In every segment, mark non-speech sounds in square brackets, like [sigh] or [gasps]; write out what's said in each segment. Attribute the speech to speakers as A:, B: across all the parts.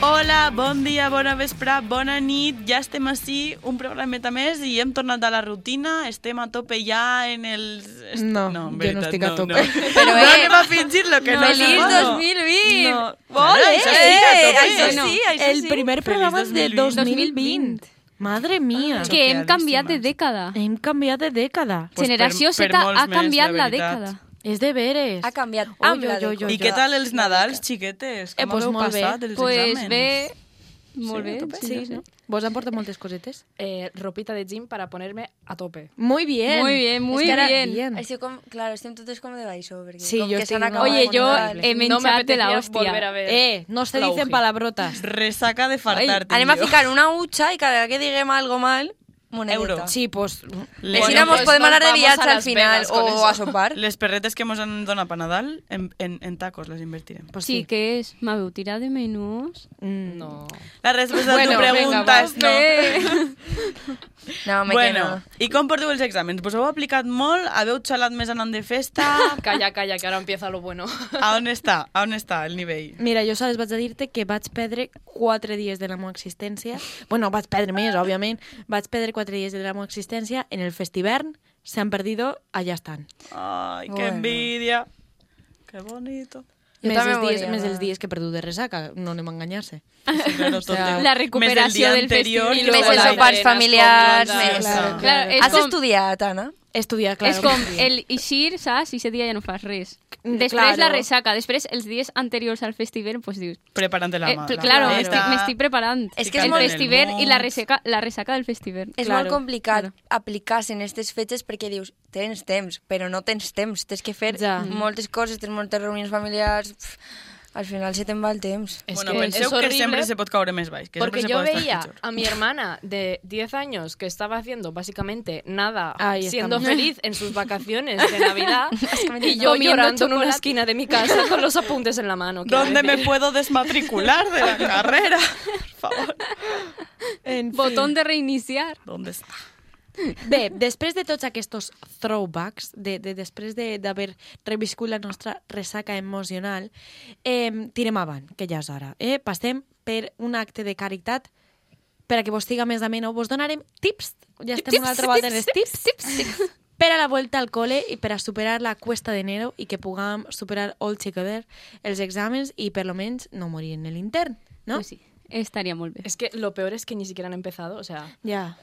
A: Hola, bon dia, bona vesprà, bona nit. Ja estem ací, un programeta més, i hem tornat a la rutina. Estem a tope ja en els... est-
B: No, jo
A: en
B: no
A: veritat,
B: estic a tope. [laughs]
A: No,
C: Però,
A: no
C: eh,
A: anem a fingir lo que no,
C: Feliç
A: som.
C: 2020.
A: No.
C: Vale,
A: Això sí, a
C: eh,
A: tope.
C: això sí, això
B: el
C: sí.
B: primer
A: Feliç
B: programa de
A: 2020.
B: 2020. Madre mía.
A: Ah.
D: que hem
A: Choqueadíssimes.
D: canviat de dècada.
B: Hem canviat de dècada.
A: Pues
D: Generació
A: per- per
D: Z
A: molts
D: ha
A: més,
D: canviat
A: la
D: la,
A: veritat.
D: dècada.
B: És de veres.
C: Ha canviat
B: Ui,
C: amb
B: ui,
C: la
B: ui,
C: de
B: ui,
A: I
B: jo-
A: què tal els Nadals, xiquetes? Com
B: Eh, pues
A: haveu
B: molt bé.
A: passat els
D: Pues
A: exàmens?
D: bé,
B: Sí,
D: molt bé.
B: a tope.
D: sí, sí.
B: no? Vos han portat moltes cosetes?
E: eh, ropita de gym para ponerme a tope.
B: Muy bien.
D: Muy bien, muy
B: que ara-
D: bien.
C: Així com, claro, estem totes com de baixo, perquè
B: Sí,
C: com
B: jo
C: que s'han
B: tinc-
C: acabat
D: Oye,
C: els
D: yo
C: Nadals.
D: he
E: no eh, me
D: menjat de la
E: apetecía volver
D: hostia.
E: a ver.
B: Eh, no se
E: la
B: dicen
E: UGI.
B: palabrotas.
A: Resaca de
C: Ai,
A: fartarte.
C: anem a
A: tio.
C: ficar una hucha i cada que diguem algo mal, monedeta.
A: Euro.
B: Sí, pues...
A: Les-
C: Així bueno,
E: pues
C: podem
E: nos
C: anar de
E: vamos
C: viatge
E: a
C: al
E: Las
C: final
E: Vegas con
C: o
E: eso.
C: a sopar.
A: Les perretes que mos han donat per Nadal, en, en, en tacos les invertirem.
B: pues
D: Sí, que és, m'haveu tirat de menús.
B: Mm.
E: No.
A: La resposta bueno, a tu
B: Bueno,
A: pregunta
B: venga,
A: és no.
C: No, me
A: bueno,
C: quedo.
A: i com porteu els exàmens? Vos heu aplicat molt? Haveu xalat més anant de festa?
E: Calla, calla, que ahora empieza lo bueno.
A: A on està? A on està el nivell?
B: Mira, jo sols vaig a dir-te que vaig perdre 4 dies de la meva existència. Bueno, vaig perdre més, òbviament. Vaig perdre 4 dies de la meva existència en el festivern. S'han perdido, allà estan.
A: Ai, que
C: Bueno.
A: envidia. Que bonito.
C: Jo
B: més,
C: també
B: els dies,
C: volia.
B: més els dies que he perdut de resaca, no anem a enganyar-se.
A: Sí, claro, tot
B: sea,
A: de-
D: la
A: més del
D: recuperació
A: dia
D: del
A: anterior
D: festival.
A: i
D: I
A: luego
C: Més
D: luego
C: els
A: la-
E: sopa.
C: sopars
E: arenas,
C: familiars,
E: con
C: més...
A: rondas.
B: Claro,
D: Clar, és
C: Has
D: com,
C: estudiat, Anna?
B: Estudiar, clar.
D: és com el eixir, saps? I ese dia ja no fas res.
B: Mm,
D: Després
B: claro.
D: la resaca, després els dies anteriors al festival, pues dius...
A: Preparant-te la
D: Eh,
A: mà.
D: pl-
A: la
D: claro,
A: maleta.
D: m'estic m'estic preparant.
C: És que és
D: el
C: molt-
D: festival i la
A: Molt.
D: resaca, la resaca del festival.
C: És
B: Claro,
C: molt complicat
D: claro.
C: aplicar-se en aquestes fetges perquè dius, tens temps, però no tens temps, tens que fer
B: Ja.
C: moltes coses, tens moltes reunions familiars, pf, al final se te'n va el temps.
E: Es
A: bueno,
E: que
A: penseu
E: pues es
A: que
E: horrible
A: sempre se pot caure més baix. Que sempre
E: porque
A: se
E: yo
A: pot estar
E: veía
A: pitjor.
E: a mi hermana de 10 años que estaba haciendo básicamente nada,
B: Ahí
E: siendo
B: estamos.
E: feliz en sus vacaciones de [laughs] Navidad,
C: Básicamente
E: y yo
D: Comiendo
E: llorando en una
D: chocolate.
E: esquina de mi casa con los apuntes en la mano. quiero
A: ¿Dónde me
E: decir.
A: puedo desmatricular de la carrera? Por favor.
B: [laughs] En
D: Botón de reiniciar.
A: ¿Dónde está?
B: Bé, després de tots aquests throwbacks, de, de, després de- d'haver de, reviscut la nostra ressaca emocional, eh, tirem avant, que ja és hora. Eh? Passem per un acte de caritat per a que vos siga més ameno. Vos donarem tips, ja estem una altra vegada en els tips, per a la volta al col·le i per a superar la cuesta d'enero i que puguem superar all together els exàmens i per lo menys no morir en l'intern, no?
D: Pues sí, estaria molt bé.
E: Es que lo peor es que ni siquiera han empezado, o sea,
B: Ja.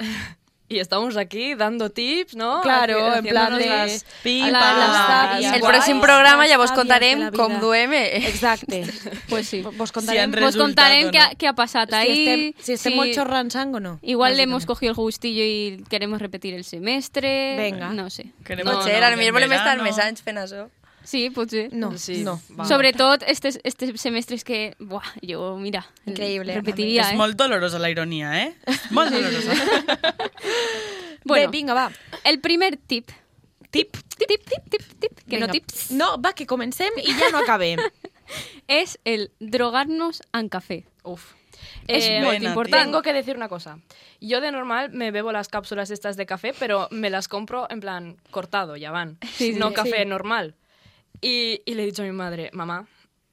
E: y estamos aquí dando tips, ¿no?
B: Claro,
E: Haci-
B: en plan
E: haciéndonos
B: de-
E: las-
A: Pipa.
B: La- la-
E: Guais,
C: El
B: guais,
C: pròxim programa
B: les
C: ja vos
B: àvies de
C: contarem
B: la vida.
C: com eh. dueme.
B: [laughs] Exacte.
D: Pues sí.
B: Vos
A: Si han
B: contarem
D: Vos
A: resultat
D: contarem
A: o
D: qué,
A: no.
D: ha- qué ha pasado
B: Si
D: ahí.
B: estem- este- si estemos chorran sang o no,
D: Igual le hemos
B: básicamente.
D: cogido el gustillo y queremos repetir el semestre.
B: Venga.
D: No sé.
A: Queremos
C: Potser, ara potser
A: en
C: volem estar
A: verano.
C: més anys fent això.
D: Sí, potser.
B: No,
E: Sí,
B: no.
E: va.
D: Sobre todo este, este semestre es que, buah, yo, mira,
C: Increíble.
D: repetiría,
A: És
D: ¿eh?
A: molt dolorosa la ironia, eh? Molt dolorosa.
B: Bueno.
D: Bueno.
B: Bé, vinga, va.
D: El primer tip,
B: Tip.
D: tip, tip, tip, tip, que
B: Vinga.
D: no tips,
B: No, va, que comencem i ja no acabem.
D: es el drogarnos en café.
E: Uf.
D: Es
E: Eh,
D: muy
A: buena,
D: importante.
E: Tengo que decir una cosa. Yo de normal me bebo las cápsulas estas de café, pero me las compro en plan cortado, ya van.
D: Sí, sí,
E: no
D: sí.
E: café normal. Y, y le he dicho a mi madre, mamá,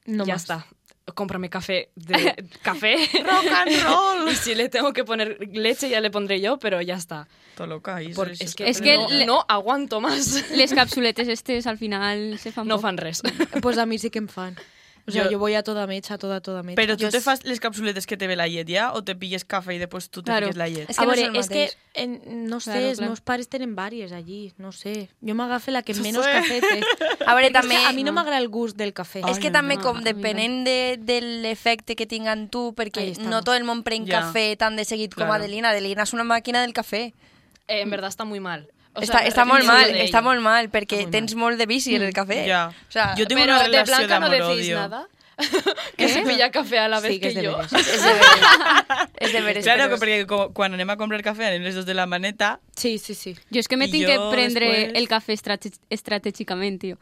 B: No
E: ya
B: más.
E: está. Cómprame café de café.
A: Rock and roll.
E: [laughs] y si le tengo que poner leche, ya le pondré yo, pero ya está.
A: Tot loca. i
E: Porque
A: eh, és-
E: es que,
D: es que
E: no,
D: le-
E: no aguanto más.
D: Les capsuletes estes al final se fan
E: [laughs] No
D: poc.
E: fan res.
B: pues a mi sí que em fan. O sea,
A: Jo-
B: jo, voy a toda mecha, toda, toda mecha.
A: Però tu
B: Jo
A: te
B: és-
A: fas les capsuletes que te ve la llet ja o te pilles cafè i després tu te
D: Claro.
A: fiques la llet?
C: És
B: a
C: que no
B: veure,
C: és el
B: és que
C: mateix.
B: en, no sé,
D: Claro,
B: els
D: clar.
B: meus pares tenen vàries allí, no sé. Jo m'agafe la que
A: No
B: menys
A: sé.
B: cafè té.
C: A veure, també...
B: A mi no m'agrada el gust del cafè.
C: És que
A: Ai,
C: també
D: no,
C: com
D: a mi
C: depenent de, de l'efecte que tingan tu, perquè
B: Ahí estamos.
C: no tot el món pren
A: Ja.
C: cafè tan de seguit com
A: Claro.
C: Adelina. Adelina és una màquina del cafè.
E: Eh, en verdad está muy mal. O
C: està,
E: sea, me
C: està molt
E: arrepiento
C: mal,
E: de
C: està
E: ello.
C: molt mal, perquè
B: Està molt Mm,
C: tens molt de vici en el cafè.
A: Ja.
C: O sea,
A: Jo tinc
E: Pero
A: una
E: de
A: relació
E: Blanca no decís
A: d'amor-odio. [laughs]
E: nada. que
A: ¿Eh?
E: se pilla café a la vez
B: sí, que, és de
E: yo.
B: veres.
C: és de
E: [laughs]
C: veres. és de veres.
A: Claro,
C: però
A: que perquè co- quan anem a comprar cafè anem les dos de la maneta.
B: Sí, sí, sí.
D: Yo es que me
A: Y
D: tengo que
A: yo
D: prendre
A: después-
D: el café estrate- estratégicamente, tío.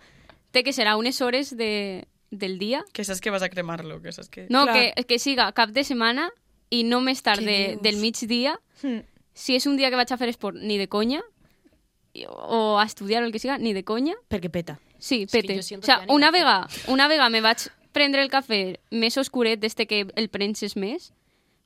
D: Te que será unas horas de, del día.
A: Que saps que vas a cremar-lo, que saps que...
D: No,
B: Clar.
D: que, que siga cap de setmana i no més tard
C: Què
D: de,
C: dius?
D: del migdia.
E: Hmm.
B: Hm.
D: Si és un dia que vaig a fer esport, ni de conya. i- O a estudiar o el que siga, ni de conya.
B: Perquè peta.
D: Sí,
E: que
D: pete.
E: jo siento
D: o sea,
E: que ja ni
D: una
E: cafè.
D: vega, una vega me vaig prendre el cafè més oscuret des de que el prens més,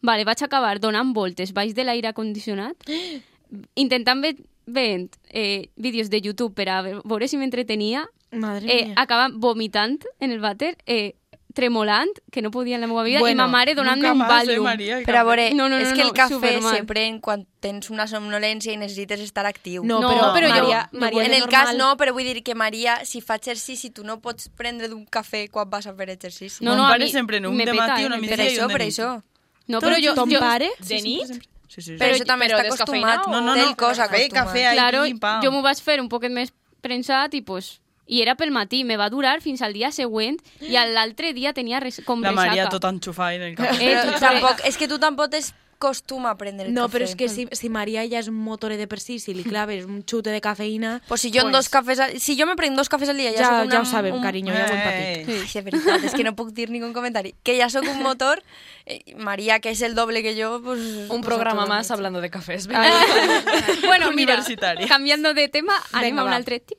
D: vale, vaig acabar donant voltes baix de l'aire condicionat, [gasps] intentant ve veient eh, vídeos de YouTube per a ve- veure si m'entretenia,
B: Madre
D: eh,
B: mía.
D: acabant vomitant en el vàter, eh, tremolant, que no podia en la meva vida, bueno, i
B: Bueno,
D: ma mare donant-me
A: Nunca
D: un
A: más, eh,
D: bàlum.
A: María, el
C: Però a
A: cafè.
C: veure,
D: No, no,
C: no, no,
D: no,
C: és que el
D: no,
C: cafè
D: supermal.
C: sempre quan tens una somnolència i necessites estar actiu.
B: No,
D: No,
B: però,
D: però jo-
B: Maria,
D: no
B: Maria
D: vull-
C: Ah, en
B: de
C: el cas
B: normal-
C: no, però vull dir que Maria, si fa exercici, tu no pots prendre d'un cafè quan vas a fer exercici.
D: No,
A: Mon
D: no, a
A: pare
D: mi
A: sempre en un
D: me
A: de
D: peta,
A: matí,
D: eh,
A: una
D: me
C: per
A: migdia i
C: això,
A: un de
C: per
A: nit.
C: això.
D: No,
A: Tot
D: però jo,
B: Ton
D: jo,
B: pare?
E: ¿De nit?
A: Sí, sí, sí.
C: Però,
D: Però-
C: això també
E: però
C: està acostumat,
E: descafeïnat
A: o- No, no,
C: té el
A: no,
C: cos
A: cafè,
C: acostumat.
A: cafè, ahí.
D: claro,
A: pim, pam.
D: jo m'ho vaig fer un poquet més prensat i pues, i era pel matí, me va durar fins al dia següent i a l'altre dia tenia res, com
A: Mm. La
D: resaca.
A: Maria tot enxufada en el cafè.
D: Eh,
C: Però
D: tu-
C: tampoc, és que tu tampoc tens costum a prendre el
B: No,
C: cafè.
B: pero es que si, si María ya es un motor de per sí, si
E: Hmm.
B: le claves un chute de cafeína...
C: Pues si jo en
B: pues-
C: dos cafès... Al... Si jo me prenc dos cafès al dia, ja,
B: Ja-
C: soc una...
B: ja ho sabem, cariño, ja ho hem patit.
A: Eh, eh, eh.
C: Ai, de veritat, és que no puc dir ningún comentari. Que ja sóc un motor, eh, Maria, que és el doble que jo, pues...
E: Un programa más hablando de cafés. venga.
D: [laughs] bueno, mira,
A: Universitaria.
D: cambiando de tema, anem
B: Venga,
D: a un
B: va.
D: altre tip.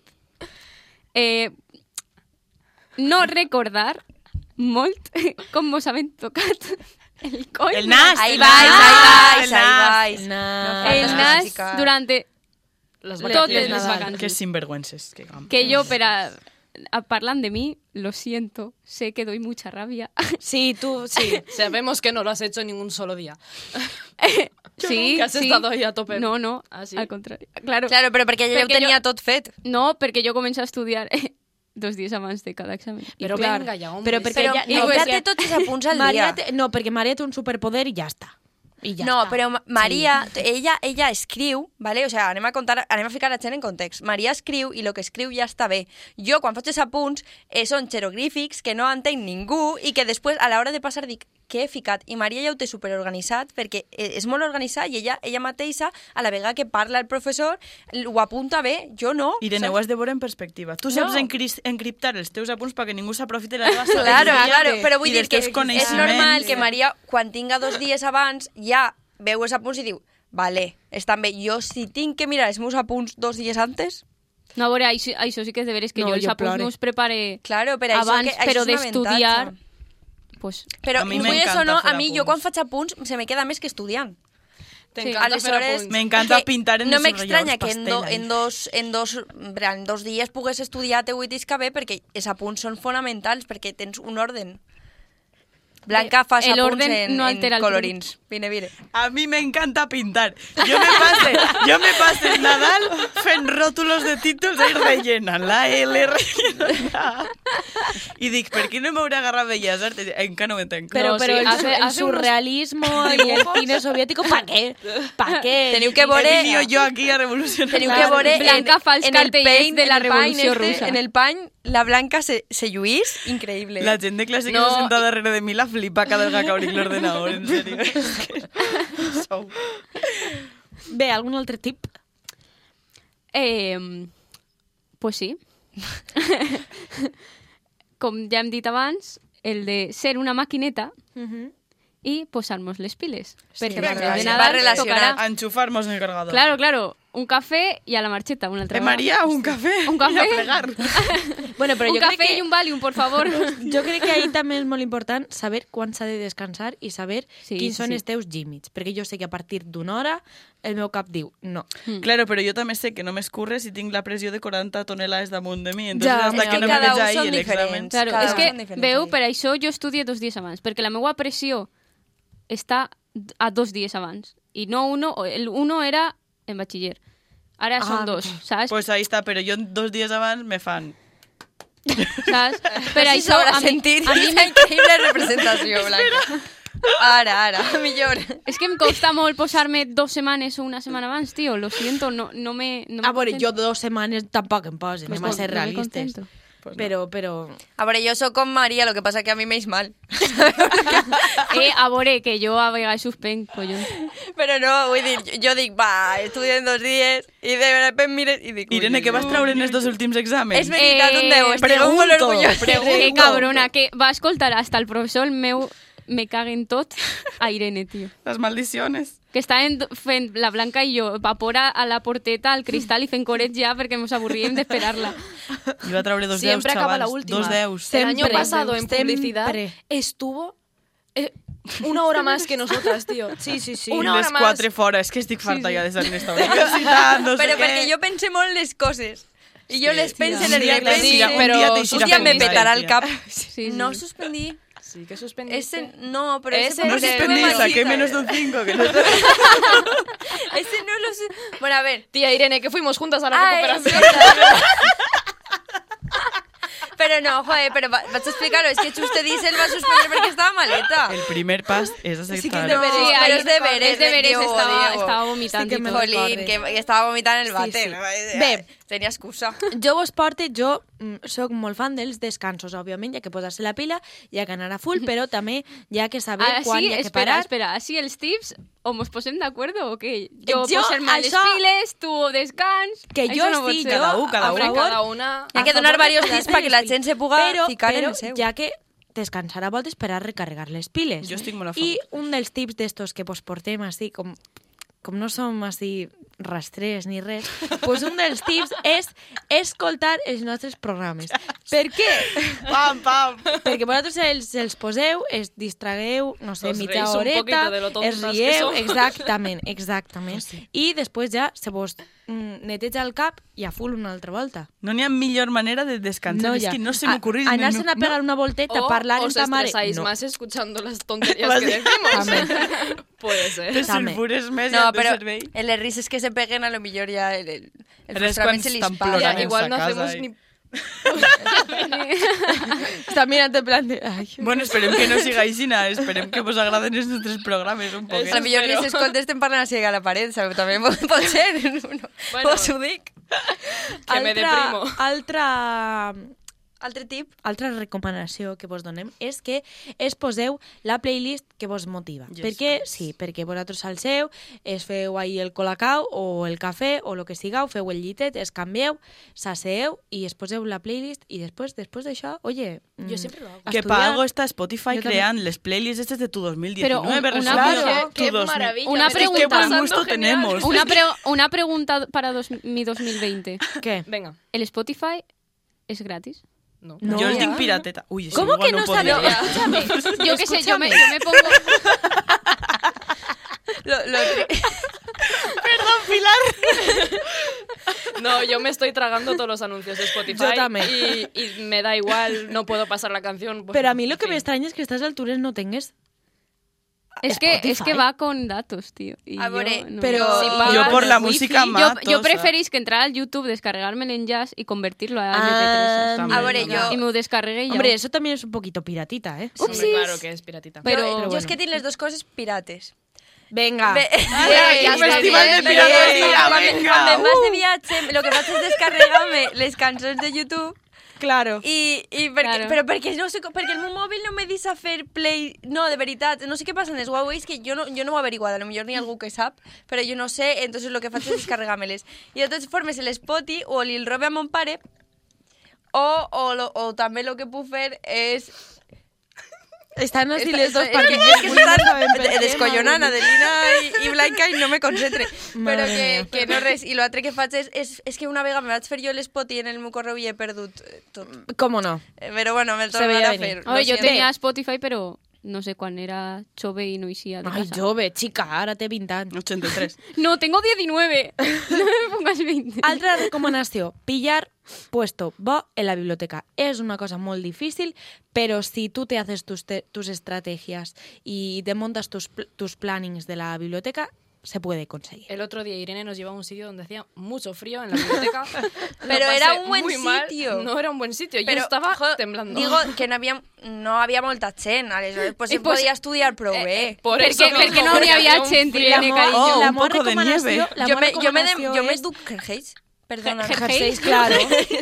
D: Eh, no recordar molt [laughs] com vos havent tocat el coll.
A: El nas,
C: Ahí
A: el
C: vais,
A: nas,
C: ahí
A: el
C: vais,
A: nas.
C: ahí vais.
B: Nah.
C: Ah,
D: El
C: no,
D: nas
C: chica.
D: durant
E: Las
D: totes
E: vacaciones.
D: les vacances.
A: Que sinvergüences, que gamba.
D: Que yo, para hablan de mí, lo siento, sé que doy mucha rabia.
B: Sí, tú, sí.
E: [laughs] Sabemos que no lo has hecho ningún solo día.
D: sí,
E: que has
D: sí.
E: estado ahí a tope.
D: No, no,
E: Ah, sí?
D: al contrario. Claro.
C: Claro, però perquè
D: Perquè
C: ella ho tenia
D: jo-
C: tot fet.
D: No, porque yo comencé a estudiar [laughs] dos días antes de cada examen.
E: Pero
B: Claro.
E: venga ya, hombre.
B: Pero porque
C: Però
B: ella-
C: ja,
B: no,
C: no,
B: pero-
C: notar-te
B: [laughs]
C: tots els apunts al
B: María
C: dia.
B: te- no, porque María tiene un superpoder y ya está. Y ya
C: no,
B: está.
C: però Ma- Maria, ella, ella escriu, ¿vale? o sea, anem a, contar, anem a ficar la gent en context. Maria escriu i el que escriu ja està bé. Jo, quan faig els apunts, eh, són xerogrífics que no entenc ningú i que després, a l'hora de passar, dic què he ficat. I Maria ja ho té superorganitzat perquè eh, és molt organitzat i ella, ella mateixa, a la vegada que parla el professor, l- ho apunta bé, jo no.
A: I de
C: saps?
A: neu has de veure en perspectiva. Tu saps encris- encriptar els teus apunts perquè ningú s'aprofite de la teva
C: Claro, ah,
A: sabidoria
C: claro, però vull
A: i
C: dir
A: dels
C: que
A: teus
C: és
A: coneixements.
C: normal que Maria, quan tinga dos dies abans, ja veu els apunts i diu, vale, estan bé. Jo, si tinc que mirar els meus apunts dos dies antes,
D: No, a veure, això, això sí que és de veres que
B: No,
D: jo els
B: jo
D: apunts
B: plore.
D: no us prepare
C: claro, per això,
D: abans,
C: que, això
D: però
C: és una
D: d'estudiar...
C: avantatge.
D: Pues,
C: Però,
A: A mi
C: vulguis o
A: m'encanta
C: no,
A: fer
C: a mi, jo
A: apunts.
C: quan faig apunts, se me queda més que estudiant.
E: Te
D: Sí.
E: encanta hacer
C: Aleshores-
E: apunts.
A: M'encanta
C: Que
A: pintar en
C: No
A: els
C: m'extranya que
A: ratlladors
C: en, do,
A: pastell,
C: en, dos, en, dos, en plan, en dos dies pugues estudiar teu i tiscabé perquè els apunts són fonamentals, perquè tens un orden. Blanca, fas
D: el
C: apunts
D: orden
C: en,
D: no altera
C: en
D: el
C: colorins. Vine, vine.
A: A mi m'encanta pintar. Jo me passe, jo me passe el Nadal fent ròtulos de títols i rellenant la L, rellenant la A. I dic, per què no m'hauré agarrat Belles Artes? Encara no ho entenc.
B: Pero,
E: No,
B: pero
E: sí,
B: el,
E: hace-
B: el
E: hace unos
B: surrealismo y el cine soviético, ¿para qué? ¿Para qué?
C: Teniu que veure...
A: Emilio, jo aquí a revolucionar.
C: Teniu que
D: Clar,
C: veure
D: Blanca fa els
C: en el
D: cartellets
C: pain,
D: de la
C: en el pain
D: Revolució
C: este,
D: Russa.
C: En el pany, la Blanca se, se lluís, increïble.
A: La gent de classe que
E: No,
A: se senta darrere de mi la flipa cada vegada que abric l'ordenador, en sèrio.
C: [laughs]
A: És que sou-
B: Ve, algun altre tip?
D: Eh, pues sí. [laughs] Com ja hem dit abans, el de ser una maquineta i posar-nos les piles.
B: Sí,
D: perquè
B: va
D: després de
A: relacionat.
D: Nadal
A: Va
C: relacionat.
D: tocarà-
A: Enxufar-nos en el cargador.
D: Claro, claro, un cafè i a la marxeta, una altra
A: Eh,
D: vegada.
A: Maria, un cafè.
D: Un cafè.
A: [laughs] I a plegar.
B: Bueno, però
D: un
B: jo crec
D: cafè
B: que-
D: i un Valium, por favor.
B: Jo crec que
D: [laughs]
B: ahí també és molt important saber quan s'ha de descansar i saber
D: Sí,
B: sí, quins
D: sí,
B: són
D: sí.
B: els teus límits, perquè jo sé que a partir d'una hora el meu cap diu no.
A: Claro, però jo també sé que no m'escurre si tinc la pressió de 40 tonelades damunt de mi. Entonces,
D: Ja,
A: ja, hasta
D: és
A: que
D: que
A: no me
C: cada
A: veja
C: un
A: ahí
C: són
A: el examen.
C: diferents.
D: Claro,
C: Cada
D: és
C: vegada són
D: que,
C: diferents,
D: veu,
C: sí.
D: per això jo estudié dos dies abans, perquè la meva pressió està a dos dies abans. I no uno, el uno era en batxiller. Ara ah,
B: Ah,
D: són dos, saps? [laughs]
A: Pues ahí está, però jo dos dies abans me fan.
D: saps? Per
C: no sé si
D: això,
C: s'haurà
D: a mi,
C: sentit
D: a mi
C: aquesta increïble
D: [laughs]
C: representació, Blanca. Ara, ara, millor.
D: És que em costa molt posar-me dos setmanes o una setmana abans, tio. Lo siento, no, no me... No me
B: A veure,
D: concentro.
B: jo dues setmanes tampoc em posen, pues
D: Pues
B: anem a
D: no,
B: ser
D: no me
B: realistes.
D: concentro.
A: Pues no.
B: però, però...
C: A veure, jo sóc com Maria, lo que passa que a mi m'eix [laughs] mal.
D: Eh, a veure, que jo a vegades suspenc, collons.
C: Però no, vull dir, jo, jo dic, va, estudio en dos dies, i de pues repente mires i dic... ui,
A: Irene,
C: ui,
A: què
C: ui.
A: vas treure en els dos últims exàmens?
C: És veritat, un deu, estic
A: pregunto,
C: molt orgullosa.
A: pregunto.
D: Que eh, cabrona, que va escoltar hasta el professor meu me caguen tot a Irene, tio.
A: Les maldiciones.
D: Que estaven do- fent
B: [laughs]
D: la Blanca i jo vapora a la porteta, al cristal i fent corets ja perquè ens avorríem d'esperar-la.
A: Jo va treure dos
E: Sempre
A: deus,
E: acaba
A: xavals.
E: la última.
A: Dos deus.
E: El año
B: Sempre.
E: pasado en
B: Sempre.
E: publicidad estuvo eh, una hora más que nosotras, tío.
B: Sí, sí, sí.
E: Una
A: I
E: hora
A: les
E: más.
A: quatre fora. És que estic farta ja de ser-ne universitat,
C: [laughs]
A: no sé
C: Pero
A: què.
C: porque yo pensé molt en les cosas. Y yo les pensé,
A: Un
C: les
A: dia
E: repente-
A: t'eixirà-
C: repensé.
E: Sí, però
A: un dia t'eixirà
E: sí,
C: Hostia, me
E: suspendí.
C: petará el
A: tonteria.
C: cap.
D: Sí, sí.
C: No suspendí.
E: Sí, que suspendí.
C: Ese, no, pero
E: Ese
C: ese, fue
E: no
A: No
C: porque fue
A: suspendí, saqué
C: maldita.
A: menos de un 5. Que no sé.
C: Ese no lo sé. Bueno, a ver.
E: Tía Irene, que fuimos juntas a la
C: Ah, es
E: recuperación.
C: verdad. [laughs] Pero no, joder, pero va- vas a explicarlo. Es que Chus te dice él va a suspender porque estaba maleta.
A: El primer pas és acceptar.
C: no,
D: Sí, ahí
C: pero es
D: recorre-
C: deberes,
D: es deberes,
C: Diego,
D: estaba,
C: Diego.
D: estaba vomitando.
B: Sí que
D: y
B: me
D: todo.
B: recorre.
C: Jolín, que estaba vomitant el bate.
B: sí.
C: no?
B: Ve.
C: Tenía excusa.
B: Jo vos porte, jo mm, sóc molt fan dels descansos, òbviament, ja que posar-se la pila, ja que anar a
D: [laughs]
B: full, però també ja que saber
D: Ara
B: quan
D: Ah, sí,
B: hi ha que
D: espera,
B: parar.
D: espera, així els tips o mos posem d'acord o pues, què? Jo,
B: Jo,
D: jo posar-me les
B: això-
D: piles, tu descans...
B: Que
D: Això
B: jo
D: no pot
B: estic,
D: ser.
B: jo,
A: Cada u, cada
B: a
A: u.
B: favor,
E: cada una...
C: Hi ha
B: a
C: que donar
B: favor de
C: varios tips
B: posar-se
C: pa que
B: les
C: la
B: piles.
C: gent se puga
B: però,
C: ficar en
B: però,
C: el seu.
B: ja que descansar a voltes per a recarregar les piles.
A: Jo estic molt a
B: I
A: favor.
B: un dels tips d'estos que vos portem així, com, com no som així rastrers ni res, pues un dels tips és escoltar els nostres programes. Per
C: [laughs]
B: què?
A: Pam, pam.
B: Perquè vosaltres els, els poseu, es distragueu, no sé,
E: Os
B: mitja
E: reís un
B: horeta,
E: poquito de lo tontas
B: es
E: que
B: rieu,
E: som.
B: exactament,
E: [laughs]
B: exactament. I després ja se vos mm, neteja el cap i a full una altra volta.
A: No n'hi ha millor manera de descansar. és
B: ja.
A: que no se
B: A-
A: m'ocorreix.
B: Anar-se'n a pegar una volteta,
E: O
B: parlar
E: Oh, os
B: amb ta mare...
E: estresáis
B: No.
E: más escuchando las tonterías que
A: Vas-
E: decimos. [laughs] Puede ser.
A: Te
B: També.
A: sulfures [laughs] més
C: No, eh,
A: no, i
C: però
A: et servei.
C: el de risc és que se peguen a lo millor ja el, el, el
A: Però és
C: frustrament
A: quan
C: se li
A: estan
C: espanta.
A: plorant.
E: Tía,
A: Ahora
E: igual
A: en
E: no
A: esa
E: hacemos
A: casa,
E: ni...
B: Està mirant en plan de... Ai.
A: Bueno, esperem que no siga aixina. Esperem que vos agraden els nostres programes un
C: A lo
A: poquet.
C: millor risc és quan estem parlant així a la paret, sabeu? També pot, pot ser. No,
E: Bueno.
C: bueno. Us ho dic.
E: Que me deprimo.
B: Altra,
C: Altre tip.
B: altra recomanació que vos donem és que es poseu la playlist que vos motiva.
A: Yes,
B: perquè, sí, perquè vosaltres alceu, es feu ahí el colacau o el cafè o lo que sigueu, feu el llitet, es canvieu, s'asseu i es poseu la playlist i després després d'això, oye...
E: Jo
B: mm,
E: sempre ho hago.
A: Que
B: estudiar.
A: pa algo está Spotify
B: Yo también.
A: creant les playlists estas de tu 2019.
D: Pero un-
A: versus
D: una
A: claro,
D: cosa-
A: tu
E: Qué
A: 2000.
E: maravilla.
D: Una
E: me lo estoy
D: pregunta.
E: pasando
A: Qué gusto
E: genial.
A: tenemos.
D: Una, pre una pregunta para dos, mi 2020.
B: Què?
E: Venga.
D: ¿El Spotify es gratis?
E: No.
B: No.
A: Yo os digo pirateta. Uy, eso
B: ¿Cómo
A: Pues igual
B: que no
A: podría.
B: salió?
D: Yo qué sé, yo me, yo me pongo...
C: Lo, lo,
E: No, yo me estoy tragando todos los anuncios de Spotify.
B: Yo también.
E: Y, y me da igual, no puedo pasar la canción. pues,
B: Pero a mí lo que
E: en
B: me
E: fin.
B: extraña es que a estas alturas no tengas...
D: Es que, es
B: Spotify.
D: que va con datos, tío. y
C: A
D: yo
C: ver,
D: no.
C: pero-
D: Sí,
C: Yo
D: pagas
A: por la
D: el wifi.
A: música
D: Yo-
A: mato,
D: Yo,
A: o sea.
D: preferís que entrar al YouTube, descargarme en jazz y convertirlo a
B: Ah,
D: MP3.
A: También,
C: a ver,
A: también.
C: yo-
D: Y me lo descargué y ya.
B: Hombre, eso también es un poquito piratita, ¿eh?
E: Hombre,
D: Upsis.
E: Claro que es piratita.
D: Pero-
C: jo, jo
D: Pero
C: és que tinc les dues coses pirates.
B: Venga. [laughs]
C: Ve-
E: Ay,
D: ya
E: ya
D: está
A: Festival
D: bien,
A: de
D: pero-
A: piratería,
C: Quan me- quan
A: venga.
C: me'n vas de viatge, lo que faig és descarregar-me les cançons de YouTube
B: Claro.
C: I, i perquè,
D: Claro.
C: claro. però perquè, no sé, com- perquè el meu mòbil no me deixa fer play... No, de veritat, no sé què passa en els Huawei, que jo no, jo no ho he averiguat, a lo millor ni algú que sap, però jo no sé, entonces lo que faig és descarregar-me-les. I de totes formes, el Spoti o li el robe a mon pare, o, o, lo, o també lo que puc fer és...
B: Están así
C: Esta-
B: los dos
C: esta-
B: partidos.
C: Es que, es que
B: saben per
C: estan
B: què,
C: descollonant
B: madre.
C: Adelina i, i Blanca i no me concentre.
B: Madre
C: Però que,
B: mía.
C: que no res. I l'altre que faig és, és, és que una vegada me vaig fer jo l'espoti en el meu correu i he perdut eh, tot.
B: ¿Cómo no?
C: Eh, Pero bueno, me lo
B: Se
C: tornaré
B: veía
C: a
B: venir.
C: hacer.
D: A ver,
C: lo
D: yo
C: siento.
D: tenía Spotify, pero no sé cuán era Chove y Noisia de
B: Ay,
D: casa.
B: Jove, chica, ahora te pintan.
A: 83.
D: No, tengo 19. [laughs] No me pongas 20.
B: Altra
A: [laughs]
B: recomanació, pillar puesto bo en la biblioteca. És una cosa molt difícil, però si tu te haces tus, te- tus estrategias y te montas tus, pl- tus plannings de la biblioteca, se puede conseguir.
C: Eh,
E: El otro día Irene nos llevó a un sitio donde hacía mucho frío en la biblioteca. Lo
C: Pero
E: pasé
C: era un buen
E: muy mal.
C: sitio.
E: No era un buen sitio. Yo
C: Pero,
E: estaba
C: jo,
E: temblando.
C: Digo que no había, no había molta gent, aleshores, pues [laughs] eh,
D: Eh,
C: se
D: pues,
C: podía estudiar, però bé.
E: por
D: Porque-
E: eso
D: porque
E: mismo,
D: no
E: porque
D: había
E: hacía un
D: gente,
E: frío.
A: Irene, cariño. Oh, un poco de nieve.
B: la meva
C: jo, me, jo me, de,
B: recomanació
C: jo me ¿eh?
B: és-
C: duc [laughs] Hergeis, perdona.
D: Her-
B: Jerseis,
C: [laughs]
B: claro,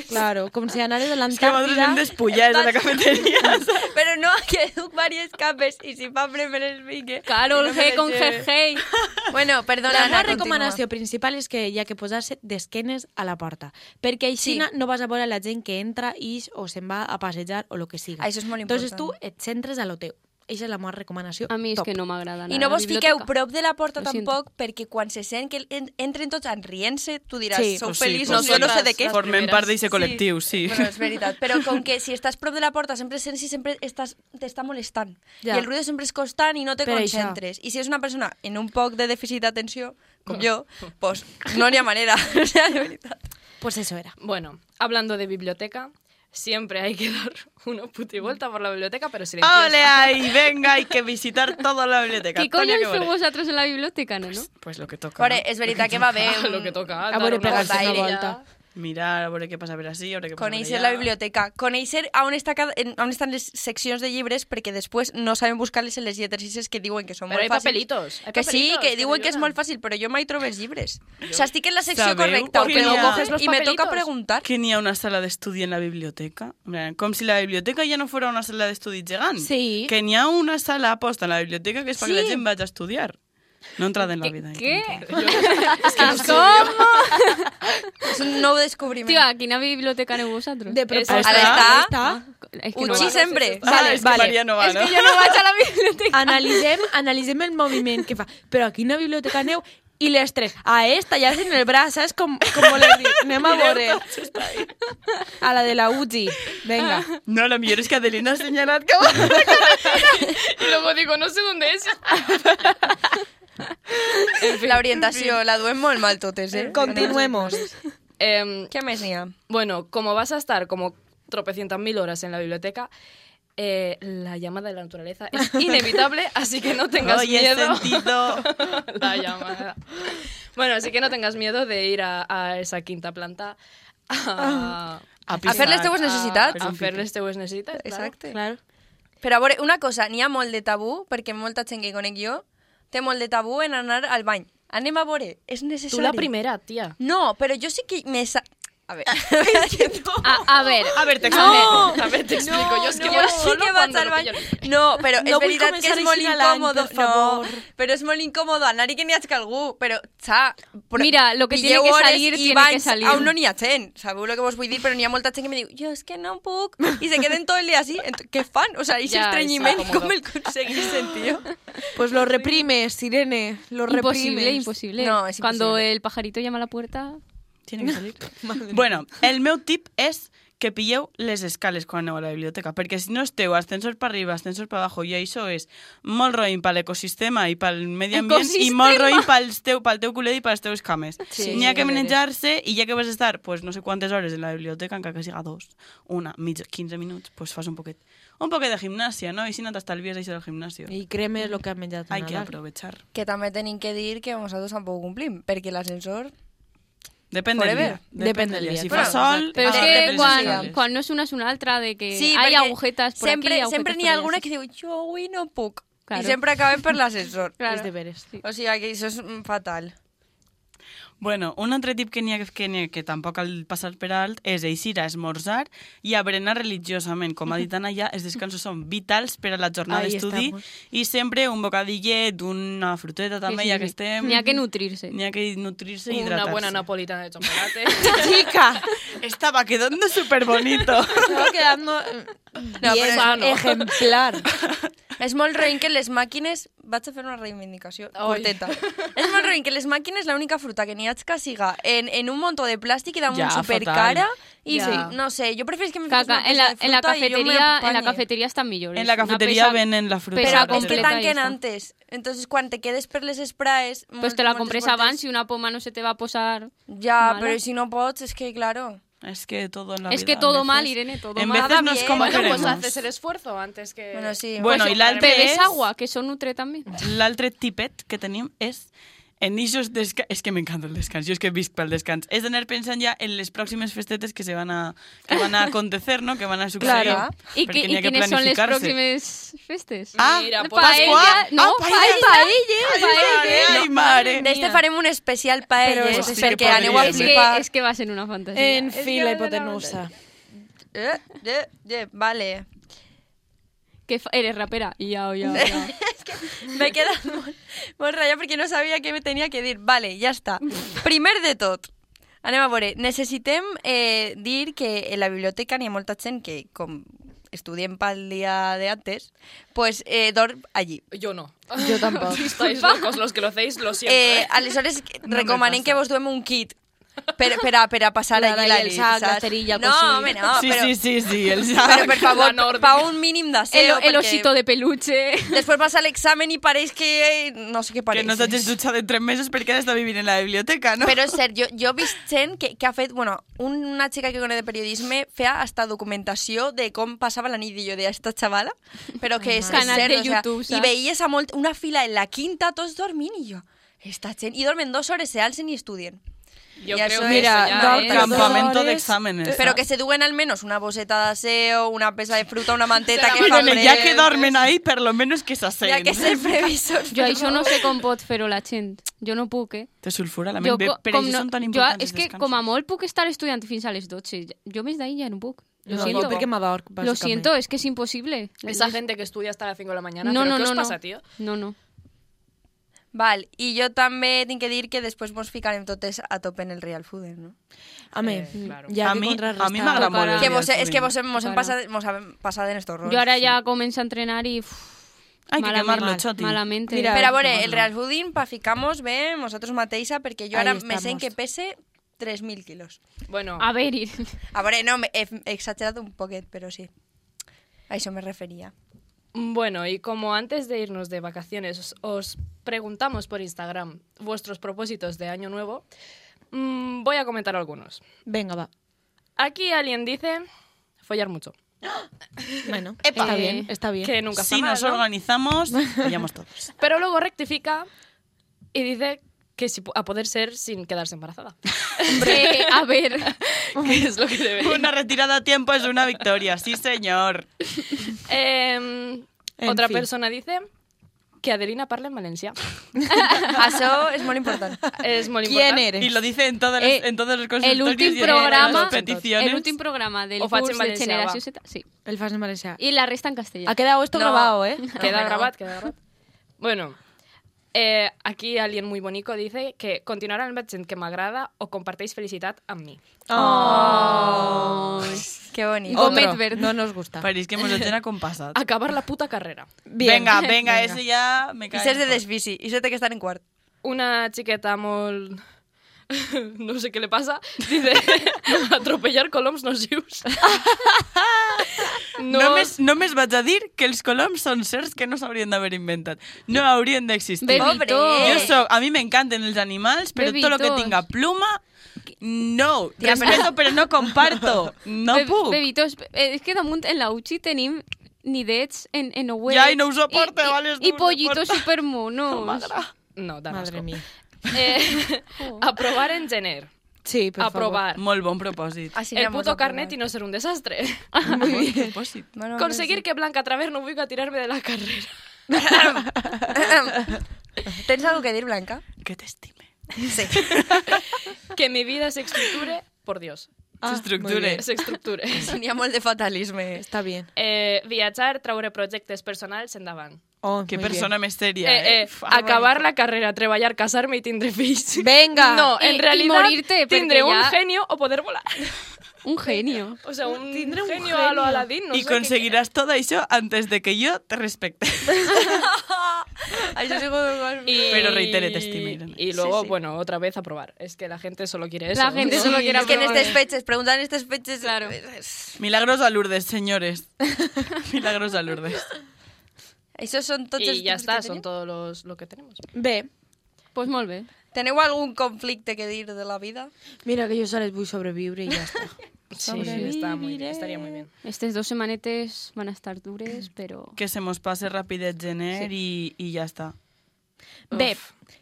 B: claro, com si anar de
A: Es que vosotros
B: l'Antàrtida...
A: bien despulláis de la cafetería.
C: Però no, [laughs] que duc varios capes i si fa fred me les pique.
D: Carol
C: que no me
D: G
C: les
D: con
C: lleve.
D: GG.
C: Bueno, perdona,
B: La meva
C: Ana,
B: recomanació principal és que hi ha que posar-se d'esquenes a la porta, perquè així
C: Sí.
B: no vas a veure la gent que entra, ix o se'n va a passejar o el que sigui.
C: Ah, això és molt
B: Entonces tu
C: important.
B: et centres a lo teu. Eixa és la meva recomanació.
D: A mi és
B: top.
D: que no m'agrada anar
C: I no
D: a la
C: vos fiqueu
D: biblioteca.
C: prop de la porta
D: Ho siento.
C: tampoc, perquè quan se sent que en- entren tots en rient-se, tu diràs,
B: Sí.
C: sou
A: Pues sí,
C: feliços,
A: pues
C: jo no sé
E: nosaltres,
C: de què.
E: les
A: Formem
E: primeres.
A: part d'aquest col·lectiu, [laughs] sí.
C: Bueno, és veritat, però com que si estàs prop de la porta sempre sents i sempre estàs, t'està molestant.
B: Ja.
C: I el ruido sempre és constant i no te
B: Per això.
C: concentres. I si és una persona en un poc de dèficit d'atenció, com jo, pues no n'hi ha manera. [laughs] O sea, de veritat.
B: Pues eso era.
E: [laughs] Bueno, hablando de biblioteca, siempre hay que [laughs] dar una puta y vuelta por la biblioteca, pero silenciosa.
A: ¡Ole ahí! ¡Venga! Hay que visitar toda la biblioteca.
D: ¿Qué coño
A: Toña, que
D: hacéis
A: vale.
D: vosotros en la biblioteca, no? no?
A: Pues lo que toca.
C: Vale, és veritat que va haver un...
E: Ah, [laughs] Lo que toca,
B: A
E: dar
B: veure,
E: una
B: pegar-se
E: vuelta.
B: una
C: volta.
B: volta.
A: Mirar, a veure què passa, a veure així, a veure què passa.
C: Conèixer
A: per
C: la
A: allà.
C: biblioteca, conèixer a on, està cada, en, on estan les seccions de llibres perquè després no sabem buscar-les en les lletres que diuen que són
E: Però
C: molt
E: hi ha
C: fàcils.
E: papelitos, hi ha
C: Que sí,
E: papelitos
C: que
E: que
C: diuen que és
E: t'ajuden.
C: molt fàcil, però jo mai trobo els llibres. O sigui, estic en la secció
A: Sabeu
C: correcta,
A: que
C: però
A: hi ha-
C: coges
E: Los
C: i me toca
E: papelitos.
C: preguntar.
A: Que n'hi ha una sala d'estudi en la biblioteca. En plan, Com si la biblioteca ja no fora una sala d'estudi gegant.
B: Sí.
A: Que n'hi ha una sala aposta en la biblioteca que és perquè la
C: Sí.
A: gent vagi a estudiar. No he entrat en la vida.
D: ¿Qué?
E: ¿Cómo?
C: És un nou descobriment.
D: Tío, aquí en la biblioteca no
C: Mm.
D: vosotros.
B: De propòsit.
A: Ara
C: està.
D: Es que no
C: Uchi
D: va.
C: sempre.
A: Ah,
B: Vale,
A: és que
B: vale.
A: Maria no va,
D: Es
A: no?
D: que yo no vaig a la biblioteca.
B: Analitzem, analitzem el moviment que fa. Però aquí una biblioteca aneu i les tres, a esta, ja en el braç, saps? Com, com voler dir, anem a veure. A la de la UGI. Vinga.
C: Ah,
A: No, la millor és que Adelina ha assenyalat que va.
E: [laughs] Y luego digo, no sé dónde es.
C: L'orientació la duem molt mal totes, eh?
B: Continuemos.
E: Em,
C: Què més n'hi ha?
E: bueno, como vas a estar como tropecientas mil horas en la biblioteca, eh, la llamada de la naturaleza es inevitable, así que no tengas
A: Oye,
E: miedo.
A: sentido.
E: [laughs] la llamada. Bueno, así que no tengas miedo de ir a, a esa quinta planta a, [laughs]
C: A fer les teues necessitats.
E: a fer les teues necessitats. claro.
C: Exacte.
B: Claro.
C: Però a veure, una cosa, n'hi ha molt de tabú, perquè molta gent que conec jo té molt de tabú en anar al bany. Anem a veure, és necessari.
E: Tú la primera, tía.
C: No, però jo sí que me... Sa... A veure, [laughs] és que no.
D: [laughs] A, a ver,
A: A ver, t'explico.
E: A ver, te explico. yo es que
C: no,
E: voy
C: sí
E: solo
C: que vaig
E: cuando
C: al
E: lo
C: bany.
E: pillo.
C: No, però és
B: No vull
C: veritat que
B: començar
C: és molt
B: així l'any,
C: incòmode.
B: per favor.
C: No, però és molt incòmode anar-hi que n'hi hagi algú. Però, xa, però
D: Mira, lo que tiene
C: pilleu
D: que
C: hores
D: salir,
C: i
D: tiene que
C: banys
D: salir.
C: on no n'hi ha gent. Sabeu el que vos vull dir? Però n'hi ha molta gent que me diu, jo és que no puc. I se queden tot el dia així. Ent- Què fan? O sea, aquest
E: Ja, és
C: estrenyiment,
E: incòmode.
C: com el aconsegueixen, tio?
B: Pues lo reprimes, Sirene. Lo
D: imposible,
B: reprimes.
D: imposible.
C: No, es
D: Cuando
C: imposible.
D: el pajarito llama a la puerta...
A: Tiene que salir. bueno, el meu tip és que pilleu les escales quan aneu a la biblioteca, perquè si no esteu ascensor per arriba, ascensor per abajo, i això és molt roïn per l'ecosistema i pel medi ambient i molt
D: Ecosistema.
A: roïn pel teu, pel teu culet i pels teus cames.
B: Sí,
A: N'hi ha que
B: a veure.
A: menjar-se i ja que vas estar pues, no sé quantes hores en la biblioteca, encara que siga dos, una, mitja, 15 minuts, pues fas un poquet. Un poquet de gimnàsia, no? I si no t'estalvies això del gimnasio.
B: I créeme lo que has menjat.
A: Hay que
B: Nadal.
A: aprovechar.
C: Que també tenim que dir que nosaltres tampoc complim, perquè l'ascensor...
A: Depende del
C: Forever.
A: día. Depende del día. Si fa
B: claro.
A: sol...
D: Pero es
C: Ah,
D: que
C: pero
D: cuando,
C: sí.
D: cuando no es una es una altra de que Eh, hay
C: perquè
D: agujetas por
C: sempre,
D: aquí, agujetas
C: Sempre n'hi
D: por
C: ha
D: allá,
C: alguna
D: sí,
C: que diu, jo avui no puc.
D: Claro.
C: I sempre acabem per l'ascensor.
D: claro.
B: Els deberes.
D: Sí.
C: O sigui, que això és mm, fatal.
A: Bueno, un altre tip que n'hi ha que, que, n'hi ha que tampoc cal passar per alt és eixir a esmorzar i a berenar religiosament. Com ha dit Anna, ja els descansos són vitals per a la jornada
B: Ahí
A: d'estudi
B: estamos.
A: i sempre un bocadillet, una fruteta també,
D: sí,
A: ja
D: sí.
A: que estem...
D: Ni a que nutrirse.
A: N'hi ha que nutrir-se i
E: Una
A: hidratar-se. [laughs]
E: buena napolitana de [laughs] chocolate.
B: Chica,
A: Estaba quedando súper bonito.
D: [laughs]
B: estaba quedando no,
C: No, pero-
B: ejemplar.
C: És molt roïn que les màquines... Vaig a fer una reivindicació corteta. És molt roïn que les màquines l'única fruta que n'hi haig que siga en, en un montó de plàstic i damunt
A: Ja,
C: ja,
A: fatal.
C: supercara. I
E: Ja.
C: sí, no sé, jo preferís que me fiques
D: Caca,
C: una
D: en
C: peça
D: la,
C: de fruta
D: en la
C: i jo
D: cafetería,
C: me
D: en la cafetería están millones.
A: en la
D: Una
A: cafetería
D: pesa-
A: venen la fruta.
D: pesa
C: Però és que
D: completa y
C: tanquen
D: está.
C: antes. Entonces, quan te quedes per les sprays...
D: Pues te la compres avance y una poma no se te va a posar.
C: Ja,
D: Mala.
C: però si no pots, és que, claro...
A: Es que todo en la
D: Es
A: vida,
D: que
A: a
D: todo
A: veces-
D: mal, Irene, todo
A: En
D: mal.
A: veces no es
C: bien.
A: como
E: bueno, pues
A: queremos.
E: haces el esfuerzo antes que...
C: Bueno, sí.
D: Eh,
A: Bueno, i l'altre
D: Pues Bebes
A: és-
D: agua, que eso nutre también.
A: L'altre tipet que tenim és en ixos desca... És que m'encanta el descans, jo és que visc pel descans. És d'anar pensant ja en les pròximes festetes que se van a, que van a acontecer, no? que van a succeir.
C: Claro.
D: ¿Y, qué-
A: perquè n'hi
D: y
A: ha que
D: quiénes son los
A: planificar-se.
D: próximos festes?
A: Ah,
E: Mira, pues,
D: paella,
A: Pascua.
D: no,
A: Ah, paella.
D: paella,
A: Ai, mare,
D: paella.
A: ai, mare.
C: D'este
D: Mía.
C: farem un especial paelles,
A: Però és que
C: perquè aneu
A: podríem,
C: a
A: eh?
D: Es que,
C: flipar.
D: es que va a ser una fantasía.
B: En fin, la hipotenusa.
C: Eh, eh, eh, vale.
D: Que fa- eres rapera. Ya, ya,
E: [laughs]
D: ya.
C: [laughs] Me he quedat molt, molt ratllada perquè no sabia què me tenia que dir. Vale, ja està. Primer de tot, anem a veure. Necessitem eh, dir que en la biblioteca n'hi ha molta gent que, com estudien para el día de antes, pues eh, dorm allí.
E: Yo no. [laughs]
B: Yo tampoco.
E: Si estáis locos los que lo hacéis, lo siento.
C: Eh,
E: eh.
C: a les hores que-
E: No me
C: recomanen
E: passa.
C: que vos duem un kit per, per, a, per a passar
B: Clar,
C: allí
B: ahí
C: la
B: el
C: nit,
B: sac, la
C: saps?
B: cerilla, el
C: No,
B: coixí.
C: home, no,
A: sí,
C: però,
A: sí, sí, sí, el
C: [laughs] però per
E: La
C: favor,
E: nòrdica.
C: pa un mínim
D: El,
C: d'aseo.
D: el
C: perquè
D: osito de
E: [laughs]
D: peluche.
C: Després vas a l'examen i pareix que... eh, No sé què
A: Que
C: pareix.
A: no t'hagis dutxat en tres mesos perquè ara està vivint en la biblioteca, no?
C: Però és cert, jo, jo he vist gent que, que ha fet... Bueno, un- una xica que conec de periodisme feia hasta documentació de com passava la nit i jo deia, esta xavala, però que és, és
D: Canal
C: cert,
D: de
C: o sea,
D: YouTube,
C: i
D: saps?
C: veies a molt, una fila en la quinta, tots dormint, i jo, esta gent... I dormen dues hores, se alcen i estudien.
E: Yo
C: ya
E: creo
C: soy-
B: [laughs]
E: que
B: Mira,
E: eso ya
B: no,
E: es-
B: pero campamento.
A: Campamento
B: Dolores.
A: d'exàmenes.
C: Però que se duen almenys una boseta d'aseo, una pesa de fruta,
A: [laughs]
C: una
E: Se
C: manteta
E: la
C: que fa
E: van
A: Bueno,
E: hombre,
A: ya que
C: fred...
A: dormen ahí, per lo menos que
C: Ja
A: s'asseien.
C: que ser previsor.
D: Jo això no sé com pot fer-ho la gent. Jo no puc, eh?
A: Te sulfura la
D: Jo,
A: ment. Bé,
D: co-
A: Per
D: com
A: això
D: no-
A: són tan
D: jo,
A: importants
D: és que com a molt puc estar estudiant fins a les 12. Jo més d'ahir ja no puc. Lo
B: No,
D: siento.
B: yo porque me ha dado,
D: Lo
B: básicamente.
D: siento, es que es imposible.
E: Esa gente que estudia hasta las 5 de la mañana.
D: No,
E: ¿pero
D: no,
E: ¿Qué
D: no,
E: os
D: no.
E: pasa, tío?
D: No, no.
C: Val, i jo també tinc que dir que després mos ficarem totes a tope en el Real Food, no?
B: Home,
E: Eh, claro.
B: ja
A: a
B: que
A: mi, a mi
B: contrarrestar-
A: m'agrada molt. el
D: Tocarà.
C: Que
A: dia
C: vos,
A: del
C: es que vos,
A: sovint.
C: hemos
D: Tocará.
C: pasado, hemos pasado en estos roles.
D: Yo ahora ya comienzo a entrenar y... uff,
A: Hay que
D: malamente,
A: quemarlo, Choti.
D: Malamente.
B: Mira,
C: Pero bueno, el Real Fooding paficamos, ve, vosotros matéis porque yo
B: Ahí
C: ahora me sé en
B: estamos.
C: que pese 3.000 kilos.
E: Bueno,
D: A ver, [laughs] ir.
C: A ver, no, me he exagerado un poquet, pero sí. A eso me refería.
E: bueno, y como antes de irnos de vacaciones, os, os preguntamos por Instagram vuestros propósitos de año nuevo, mm, voy a comentar algunos.
B: Venga, va.
E: Aquí alguien dice follar mucho,
B: Bueno,
D: Epa.
B: está
D: Eh,
B: bien, está bien.
E: que nunca está
A: Si
E: mal,
A: nos
E: ¿no?
A: organizamos, pillamos todos.
E: Pero luego rectifica y dice que si, pu- a poder ser sin
B: [laughs]
E: quedarse embarazada,
D: Eh, [laughs] a ver.
E: que es lo que debería.
A: [laughs] Una retirada a tiempo es una victoria, sí señor.
E: Em,
B: En
E: otra
B: fin.
E: persona dice que Adelina parla
B: [laughs]
E: en Valencia.
C: Eso es muy importante.
E: Es muy
B: ¿Quién
E: importante.
B: eres?
A: Y lo dice en todas las,
D: Eh,
A: en todos los
D: El
A: consultorios y en
D: último
A: todas las
D: programa...
A: peticiones.
D: El último programa del
E: O faig en
D: curs de
E: valencià,
D: Generació Z.
E: va.
D: Sí.
B: El Fast Valencia.
D: Y la resta en castellano.
B: Ha quedado esto
C: No.
B: grabado, ¿eh?
E: Queda
C: No,
E: grabado, queda grabado. Bueno, eh, aquí alguien muy bonito dice que continuar al Merchant que me agrada o compartéis felicidad a mí.
D: Oh.
C: Qué bonito.
D: O
B: Otro.
D: Medved.
B: No nos gusta.
A: París que hemos lo llena con pasado.
E: Acabar la puta carrera.
B: Bien.
A: Venga, venga, ese ya me
C: Y
A: cae.
C: ser de
A: mejor.
C: desbici. Y ser de que estar en cuarto.
E: Una chiqueta mol... [laughs] no sé qué le pasa, dice [laughs] atropellar coloms nos ius.
A: No, més, només vaig a dir que els coloms són certs que no s'haurien d'haver inventat. No haurien d'existir.
D: Bebito.
C: Pobre.
A: Jo
C: Eh.
A: soc, a mi m'encanten els animals, però tot el que
D: Bebitos.
A: tinga pluma, no.
C: Tia, però-
A: Respeto, però no comparto. No
D: Be-
A: puc.
D: Bebitos, eh, és que damunt en la UCI tenim nidets en, en ouets.
A: Ja, i no ho soporte,
D: i,
A: vale, és
D: I, i
A: dur de
D: pollitos
A: portar. [laughs]
D: supermonos.
E: No, da
B: Madre
E: asco.
B: mía.
E: Eh, [laughs] aprobar en gener.
B: Sí, por
E: Aprobar.
A: Molt bon propòsit.
C: Así
E: el puto carnet y no ser un desastre.
A: Molt bon propòsit.
E: [laughs] Conseguir que Blanca Traver no vuelva a tirarme de la carrera. [laughs]
C: ¿Tienes algo que decir, Blanca?
A: Que t'estime.
C: [laughs] Sí.
E: Que mi vida se estructure, por Dios,
B: Ah, muy
A: S'estructure.
B: bien.
E: se estructure.
C: Sonía molt de fatalisme.
B: Está bien.
E: Eh, viatjar, traure projectes personals endavant.
B: Oh,
A: Que
B: muy bien.
A: persona més sèria, eh?
E: Eh, eh, acabar la carrera, treballar, casarme y tindre fills.
B: Venga.
E: [laughs] No,
D: I-
E: en
D: i
E: realidad
D: morirte, perquè
E: tindré un
D: ja-
E: genio o poder volar. [laughs]
D: Un genio.
E: O sea, un,
B: Tindré
E: genio,
B: un
E: a lo
B: genio.
E: Aladín. No
A: y
E: sé qué
A: conseguirás todo eso antes de que yo te respecte. [laughs]
C: Això ha sigut molt-
E: quiera. Y-
A: Pero reitere, te estime, Irene.
E: Y
A: Sí,
E: luego,
A: sí.
E: bueno, otra vez aprobar. Es que la gente solo quiere eso.
D: La gente solo quiere
C: Es que en este
D: aprobar.
C: estos fechas, preguntan en estos fechas.
D: Claro.
A: Milagros a Lourdes, señores. Milagros a Lourdes.
C: Esos son todos.
E: Y ya está, son todos los, lo que tenemos.
B: Ve.
D: Pues molt bé.
C: ¿Tenemos algún conflicto que dir de la vida?
B: Mira que yo sales muy sobrevivir y ya [laughs] está.
E: Sí, está muy bien, estaría muy bien.
D: Estes dos semanetes van a estar dures, però...
A: Que se nos pase rápido el gener y, y ya está.
B: Bé,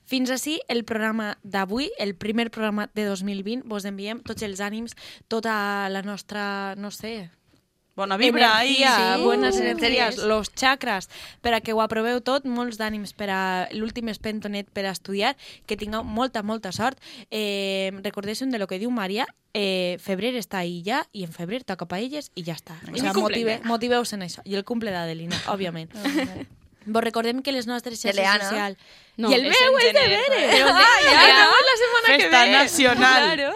B: fins així el programa d'avui, el primer programa de 2020. Vos enviem tots els ànims, tota la nostra, no sé,
A: Bona vibra ahí.
B: energia,
C: sí.
B: bones
C: Uh,
B: energies,
C: sí.
B: los chakras, per a que ho aproveu tot, molts d'ànims per a l'últim espentonet per a estudiar, que tingueu molta, molta sort. Eh, recordeu de lo que diu Maria, eh, febrer està ahí ja, i en febrer toca paelles i ja està.
A: I
B: O
A: mi
B: sigui,
E: cumple.
B: motive, motiveu-se en això. I el cumple d'Adelina, òbviament. Vos recordem que les nostres
C: De
B: xarxes
C: Leana.
B: social...
D: No,
B: I el
E: és
B: meu
E: en
B: és de
E: gener,
B: Bere!
E: però el de-
B: Ai,
E: Ah,
B: ara,
E: acabem la setmana que
A: Festa
E: ve.
A: nacional.
B: Claro.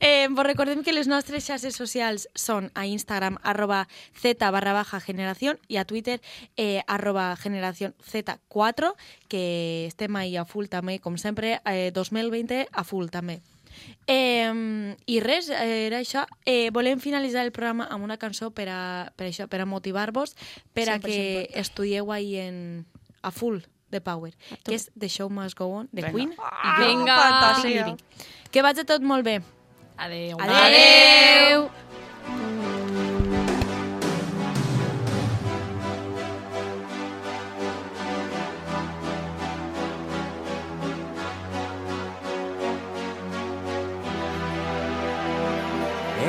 B: Eh, vos recordem que les nostres xarxes socials són a Instagram arroba z barra baja generación i a Twitter eh, arroba generación z4 que estem ahí a full també, com sempre, eh, 2020 a full també. Eh, I res, eh, era això. Eh, volem finalitzar el programa amb una cançó per a, per això, per a motivar-vos, per a
C: 100%
B: que estudieu ahí en, a full de Power, que és The Show Must Go On, de
A: Venga.
B: Queen.
C: Ah,
D: Vinga.
C: Fantàsia.
B: Que vagi tot molt bé.
E: Adeu.
B: Adeu.
D: Adeu.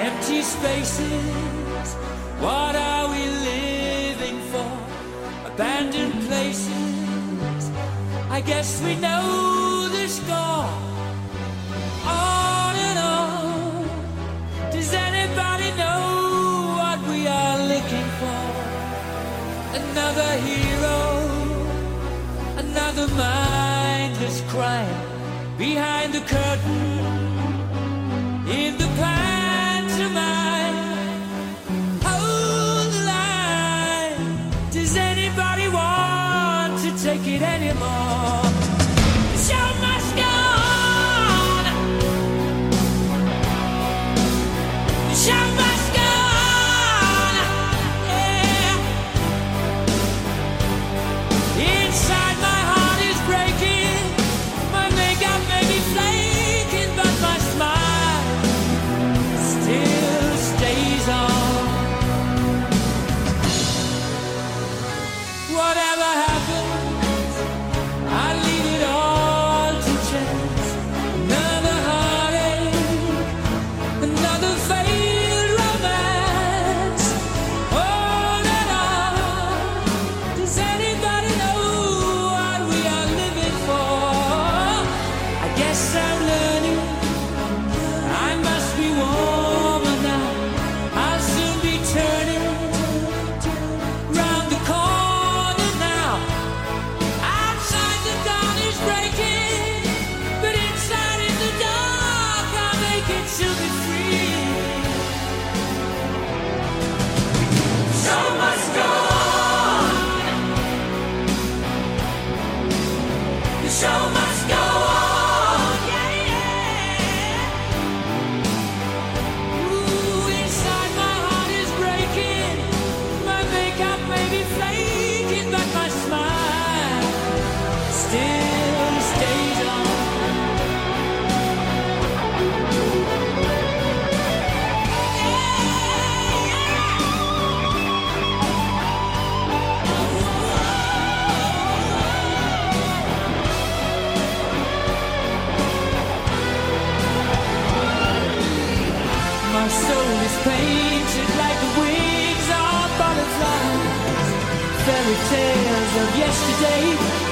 F: Empty spaces, what are we living for? Abandoned places, I guess we know the score. On and on, does anybody know what we are looking for? Another hero, another mindless crime behind the curtain in the pantomime. Hold the line. Does anybody want to take it anymore? The show must go on. The show must go on. Yeah. Inside my heart is breaking. My makeup may be flaking, but my smile still stays on. Whatever happens, I leave it all to chance. Another heartache, another failed romance. On and on. Does anybody know what we are living for? I guess I'm learning. I must be warmer now. I'll soon be turning round the corner now. Outside the dawn is breaking, but inside in the dark I'll make it to be free. So must go on. The show must go on. Yeah, yeah. Ooh, inside my heart is breaking. My makeup may be flaking, but my smile still stays on. My soul is painted like the wings of butterflies, fairy tales of yesterday.